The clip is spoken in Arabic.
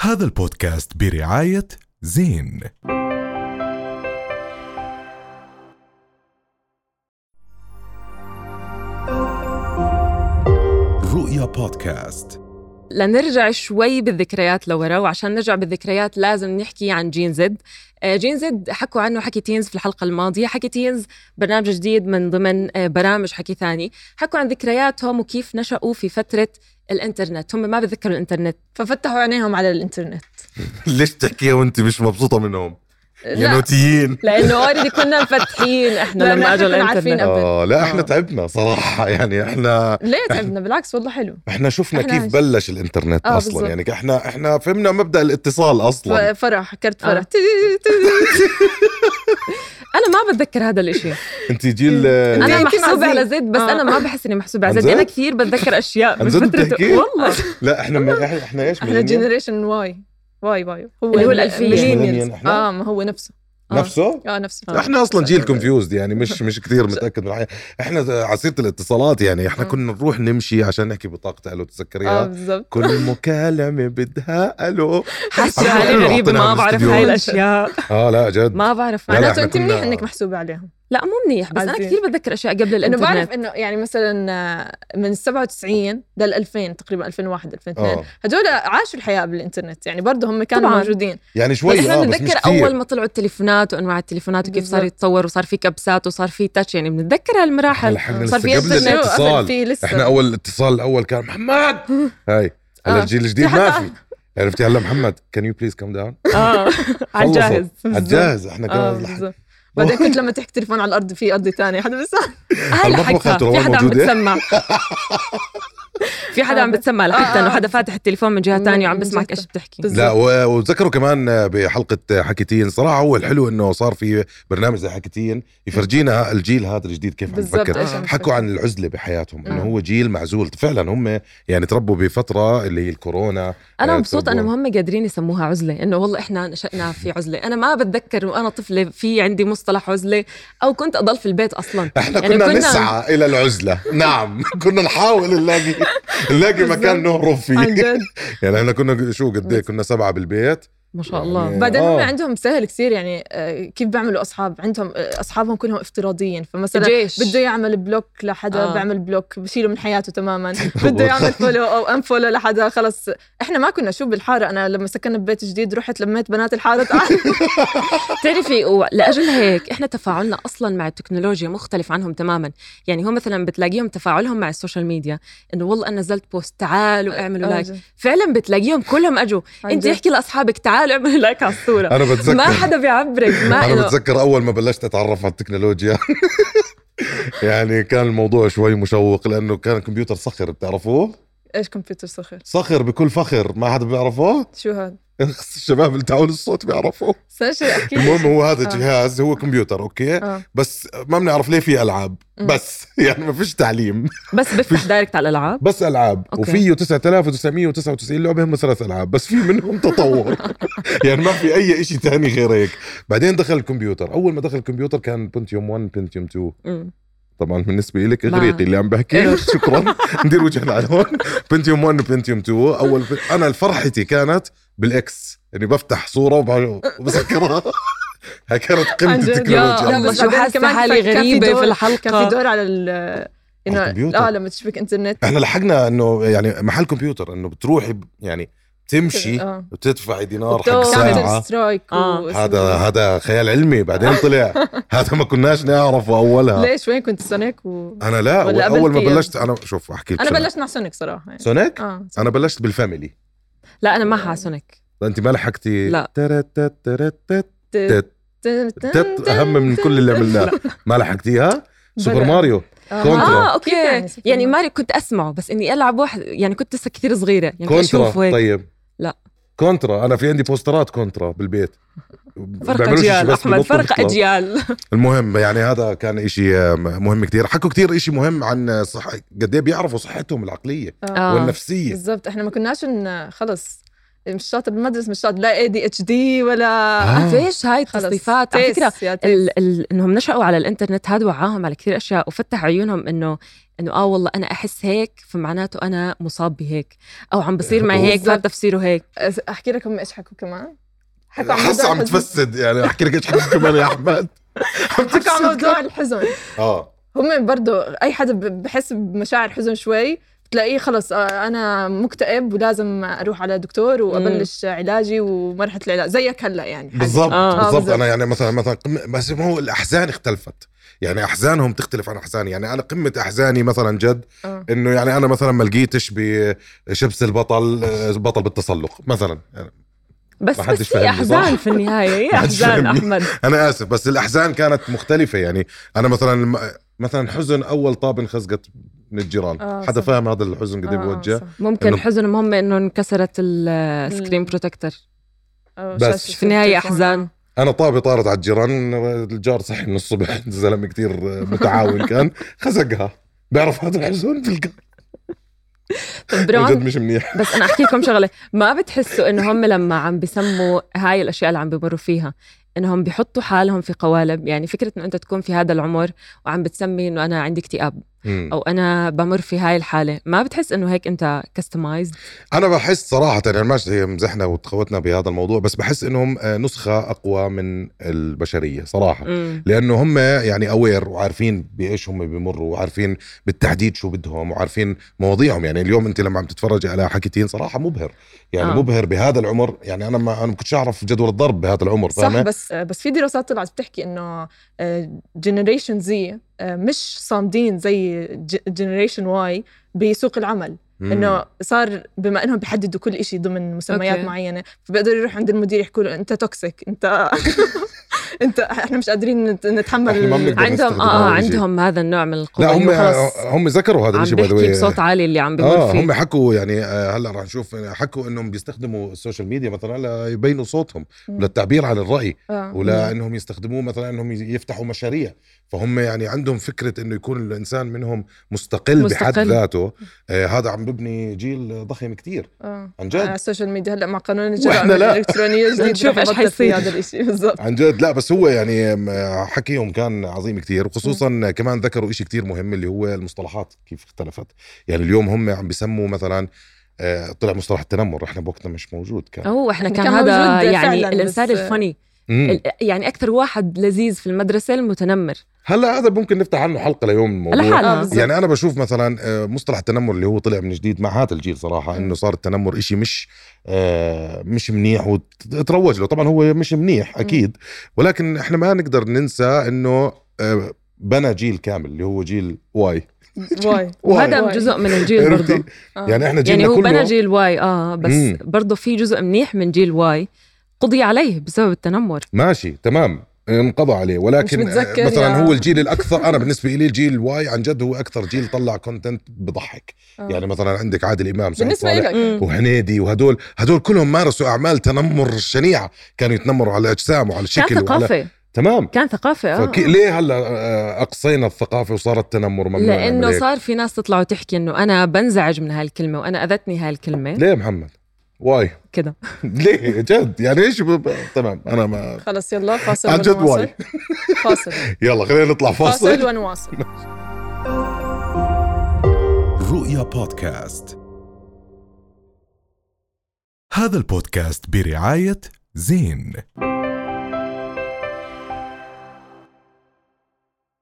هذا البودكاست برعاية زين رؤيا بودكاست لنرجع شوي بالذكريات لورا وعشان نرجع بالذكريات لازم نحكي عن جين زد آه، جين زد حكوا عنه حكي تينز في الحلقة الماضية حكي تينز برنامج جديد من ضمن آه، برامج حكي ثاني حكوا عن ذكرياتهم وكيف نشأوا في فترة الانترنت هم ما بتذكروا الانترنت ففتحوا عينيهم على الانترنت ليش تحكيها وانت مش مبسوطه منهم يا لا نوتيين لانه اوريدي كنا مفتحين احنا لأنه لما إحنا اجى كنا عارفين الانترنت قبل. اه لا احنا آه. تعبنا صراحه يعني احنا ليه تعبنا بالعكس والله حلو احنا شفنا إحنا كيف عش- بلش الانترنت آه، اصلا بالظبط. يعني احنا احنا فهمنا مبدا الاتصال اصلا ف- فرح كرت آه. فرح تي- تي- تي- انا ما بتذكر هذا الاشي انت جيل انا أنت مع محسوبة زيد. على زيد بس آه. انا ما بحس اني محسوبة على عن زيد انا جد؟ كثير بتذكر اشياء عن بس جد بترتب بتحكي؟ آه. والله لا احنا ما احنا, احنا ايش احنا millennial؟ جنريشن واي واي واي هو اللي هو ال- الألفية. millennials. مش millennial إحنا؟ اه ما هو نفسه آه. نفسه اه نفسه آه. احنا اصلا جيل كونفيوزد يعني مش مش كثير متاكد من الحقيقه احنا عصيره الاتصالات يعني احنا آه. كنا نروح نمشي عشان نحكي بطاقه الو اه آه. تتذكريها بالضبط كل مكالمه بدها الو حاسة عم حالي بيعملوا غريبة وقتنا ما من بعرف الاستديو. هاي الاشياء اه لا جد ما بعرف لا، لا، معناته إحنا انت كنا- منيح انك محسوبه عليهم لا مو منيح بس انا عزيز. كثير بتذكر اشياء قبل انه بعرف الانترنت انه يعني مثلا آه، من 97 لل 2000 تقريبا 2001 2002 اه هدول عاشوا الحياه بالانترنت يعني برضه هم كانوا طبعاً. موجودين يعني شوي بس احنا اه بس مش بنتذكر كثير اول ما طلعوا التليفونات وانواع التليفونات وكيف صار بالضبط. يتطور وصار في كبسات وصار في تاتش يعني بنتذكر هالمراحل لحقنا لسه صار في قبل إنترنت. الاتصال في لسه احنا اول الاتصال الاول كان محمد هاي آه. هلا الجيل الجديد في ما حدا- في عرفتي هلا محمد كان يو بليز كم داون اه على الجاهز الجاهز احنا اه آه، كمان لحق- آه. بالضبط بعدين كنت لما تحكي تليفون على الارض في ارض ثانيه حدا بس هلا المطبخ حقها ترى في حدا عم موجودة. بتسمع في حدا عم آه. بتسمع لحتى آه. انه حدا فاتح التليفون من جهه من- ثانيه وعم من بسمعك جهة ايش بتحكي بالضبط. لا و- وتذكروا كمان بحلقه حكيتين صراحه هو الحلو انه صار في برنامج زي حكيتين يفرجينا الجيل هذا الجديد كيف عم بالضبط آه. بفكر آه. إيش عم حكوا تفكر. عن العزله بحياتهم انه مم. هو جيل معزول فعلا هم يعني تربوا بفتره اللي هي الكورونا انا آه، مبسوطه تربوا. انهم هم قادرين يسموها عزله انه والله احنا نشأنا في عزله انا ما بتذكر وانا طفله في عندي مصطلح عزله او كنت اضل في البيت اصلا احنا يعني كنا, كنا- كنا نسعى الى العزله نعم كنا نحاول نلاقي نلاقي مكان نهرب عن فيه جد يعني احنا كنا شو قد ايه كنا سبعه بالبيت ما شاء الله يعني- بعدين هم آه. عندهم سهل كثير يعني آه، كيف بيعملوا اصحاب عندهم آه، اصحابهم كلهم افتراضيين فمثلا جيش بده يعمل بلوك لحدا آه. آه. بيعمل بلوك بشيله من حياته تماما بده يعمل فولو او انفولو لحدا خلص احنا ما كنا شو بالحاره انا لما سكننا ببيت جديد رحت لميت بنات الحاره تعال بتعرفي و- لاجل هيك احنا تفاعلنا اصلا مع التكنولوجيا مختلف عنهم تماما يعني هم مثلا بتلاقيهم تفاعلهم مع السوشيال ميديا انه والله انا نزلت بوست تعالوا اعملوا آه، لايك فعلا بتلاقيهم كلهم اجوا انت احكي لاصحابك تعالوا اعملوا لايك على الصوره انا ما بتذكر حدا بيعبرك ما انا إله. بتذكر اول ما بلشت اتعرف على التكنولوجيا يعني كان الموضوع شوي مشوق لانه كان كمبيوتر صخر بتعرفوه ايش كمبيوتر صخر صخر بكل فخر ما حدا بيعرفه شو هذا الشباب اللي تعاون الصوت بيعرفوه استنى شوي احكي المهم هو هذا آه. جهاز هو كمبيوتر اوكي آه. بس ما بنعرف ليه في العاب مم. بس يعني ما فيش تعليم بس بفتح دايركت على الالعاب بس العاب أوكي. وفيه 9999 لعبه هم ثلاث العاب بس في منهم تطور يعني ما في اي شيء ثاني غير هيك بعدين دخل الكمبيوتر اول ما دخل الكمبيوتر كان بنتيوم 1 بنتيوم 2 أمم. طبعا بالنسبه لك ما- اغريقي اللي عم إله. بحكي شكرا ندير وجهنا على هون بنتيوم 1 وبنتيوم 2 اول انا فرحتي كانت بالاكس اني بفتح صوره وب- وبسكرها هاي كانت قمه عن جد. يا التكنولوجيا الله. يلا بس شو بعدين حاسه كمان حالي كان في غريبه دور- في كان في الحلقه دور على ال انه الكمبيوتر. اه لما تشبك انترنت احنا لحقنا انه يعني محل كمبيوتر انه بتروحي ب- يعني بتمشي آه. وبتدفعي دينار حق كاونتر ساعه سترايك آه. و- هذا هذا خيال علمي بعدين طلع هذا ما كناش نعرفه اولها ليش وين كنت سونيك و... انا لا ولا قبل اول ما كيا؟ بلشت انا شوف احكي لك انا شغلة. بلشت مع سونيك صراحه يعني. سونيك اه انا بلشت بالفاميلي لا انا ما حاسونك لا، انت ما لحقتي لا. ترتت ترتت ت- تت تن- تن- تت اهم من كل اللي عملناه ما لحقتيها سوبر بلا. ماريو آه. كونترا. آه، اه كيف اوكي يعني سوبر يعني مان؟ ماري كنت اسمعه بس اني العب واحد يعني كنت لسه كثير صغيره يعني كنت كونترا اشوفه هيك طيب لا. كونترا انا في عندي بوسترات كونترا بالبيت فرق بيعملوش إشي اجيال بس احمد بينطوا فرق بيطلعوا. اجيال المهم يعني هذا كان إشي آه، مهم كتير حكوا كتير إشي مهم عن صح قد ايه بيعرفوا صحتهم العقليه آه. آه. والنفسيه بالضبط احنا ما كناش إن- خلص مش شاطر بالمدرسه مش شاطر لا اي دي اتش دي ولا آه. فيش هاي خلص. التصنيفات على تيس فكره يا تيس. ال... ال... انهم نشأوا على الانترنت هذا وعاهم على كثير اشياء وفتح عيونهم انه انه اه والله انا احس هيك فمعناته انا مصاب بهيك او عم بصير معي هيك بالضبط. فهذا تفسيره هيك احكي لكم ايش حكوا كمان حكوا عن حس موضوع عم الحزن. تفسد يعني احكي لك ايش حكيت كمان يا احمد عم حكوا عن تفسد موضوع الحزن اه هم برضو اي حدا ب- بحس بمشاعر حزن شوي بتلاقيه خلص آه، انا مكتئب ولازم اروح على دكتور وابلش علاجي ومرحله العلاج زيك هلا يعني حالياً. بالضبط آه، بالضبط بالضبط. انا يعني مثلا مثلا قمة- بس هو الاحزان اختلفت يعني احزانهم تختلف عن احزاني يعني انا قمه احزاني مثلا جد آه. انه يعني انا مثلا ما لقيتش بشبس البطل آه، بطل بالتسلق مثلا يعني بس ما حدش بس هي فاهمني، صح؟ احزان في النهايه هي ما حدش احزان فاهمني. احمد انا اسف بس الاحزان كانت مختلفه يعني انا مثلا الم- مثلا حزن اول طاب انخزقت من الجيران آه، حدا صح. فاهم هذا الحزن قد ايه آه، آه، بوجه صح. ممكن إنه- حزنهم هم انه انكسرت السكرين بروتكتور آه، بس. شاشة في النهاية التليفون. أحزان انا طابي طارت على الجيران الجار صحي من الصبح زلمه كثير متعاون كان خزقها بيعرف هذا الحزن في القلب طب جد برون مش منيح بس أنا أحكي لكم شغلة ما بتحسوا إنه هم لما عم بسموا هاي الأشياء اللي عم بمروا فيها إنهم بيحطوا حالهم في قوالب يعني فكرة إنه أنت تكون في هذا العمر وعم بتسمي إنه أنا عندي اكتئاب مم. أو أنا بمر في هاي الحالة ما بتحس إنه هيك أنت كستمايزد انا بحس صراحه يعني ماشي هي مزحنا وتخوتنا بهذا الموضوع بس بحس انهم آه، نسخه اقوى من البشريه صراحه لانه هم يعني اوير وعارفين بايش هم بيمروا وعارفين بالتحديد شو بدهم وعارفين مواضيعهم يعني اليوم انت لما عم تتفرج على حكيتين صراحه مبهر يعني آه. آه. مبهر بهذا العمر يعني انا ما انا ما كنتش اعرف جدول الضرب بهذا العمر صح فاهمه بس آه، بس في دراسات طلعت بتحكي آه، انه جنريشن زي آه، مش صامدين زي جنريشن واي بسوق العمل مم. انه صار بما انهم بيحددوا كل شيء ضمن مسميات أوكي. أوكي. معينه فبيقدروا يروحوا عند المدير يحكوا له انت توكسيك انت انت احنا مش قادرين نت- نتحمل إحنا ما بنقدر. عندهم نستخدم آه هذا الشيء. عندهم هذا النوع من القوة لا هم إنه خلص هم ذكروا هذا عم الشيء by the بيحكي way. بصوت عالي اللي عم بمر اه فيه هم حكوا يعني آه، هلا رح نشوف حكوا انهم بيستخدموا السوشيال ميديا مثلا ليبينوا صوتهم مم. للتعبير عن الراي آه. ولا انهم يستخدموه مثلا انهم يفتحوا مشاريع فهم يعني عندهم فكره انه يكون الانسان منهم مستقل, بحد مستقل. ذاته آه هذا عم ببني جيل ضخم كتير آه. عن على جد السوشيال ميديا هلا مع قانون الجرائم وإحنا لا. الالكترونيه الجديد نشوف رح إيش يبطل في حيصير. هذا الشيء بالضبط عن جد لا بس هو يعني آم، حكيهم كان عظيم كتير وخصوصا كمان ذكروا إشي كتير مهم اللي هو المصطلحات كيف اختلفت يعني اليوم هم عم بيسموا مثلا آه، طلع مصطلح التنمر احنا بوقتنا مش موجود كان أوه إحنا كان كان هذا موجود يعني فعلاً، الإنسان بس- الفني مم. ال- يعني اكثر واحد لذيذ في المدرسه المتنمر هلا هذا ممكن نفتح عنه حلقه ليوم الموضوع لحالها. آه، بالظبط. يعني انا بشوف مثلا آه، مصطلح التنمر اللي هو طلع من جديد مع هذا الجيل صراحه مم. انه صار التنمر إشي مش آه، مش منيح وتروج له طبعا هو مش منيح اكيد ولكن احنا ما نقدر ننسى انه آه، بنى جيل كامل اللي هو جيل واي واي وهذا واي. جزء من الجيل برضه آه. يعني احنا جيلنا يعني هو كله بنى جيل واي اه بس مم. برضه في جزء منيح من جيل واي قضي عليه بسبب التنمر ماشي تمام انقضى عليه ولكن مش متذكر مثلا يا- هو الجيل الاكثر انا بالنسبه لي الجيل الواي عن جد هو اكثر جيل طلع كونتنت بضحك آه. يعني مثلا عندك عادل امام سعيد بالنسبه صالح، لك وهنيدي وهدول هدول كلهم مارسوا اعمال تنمر شنيعه كانوا يتنمروا على اجسام وعلى كان شكل وعلى ثقافه تمام كان ثقافه اه فكي... ليه هلا آه، اقصينا الثقافه وصار التنمر ممنوع نعمل لانه هيك؟ صار في ناس تطلع وتحكي انه انا بنزعج من هالكلمه وانا اذتني هالكلمه ليه محمد واي كده ليه جد يعني ايش ب... تمام انا ما خلص يلا فاصل عن جد ونواصل. واي فاصل يلا خلينا نطلع فاصل فاصل ونواصل رؤيا بودكاست هذا البودكاست برعاية زين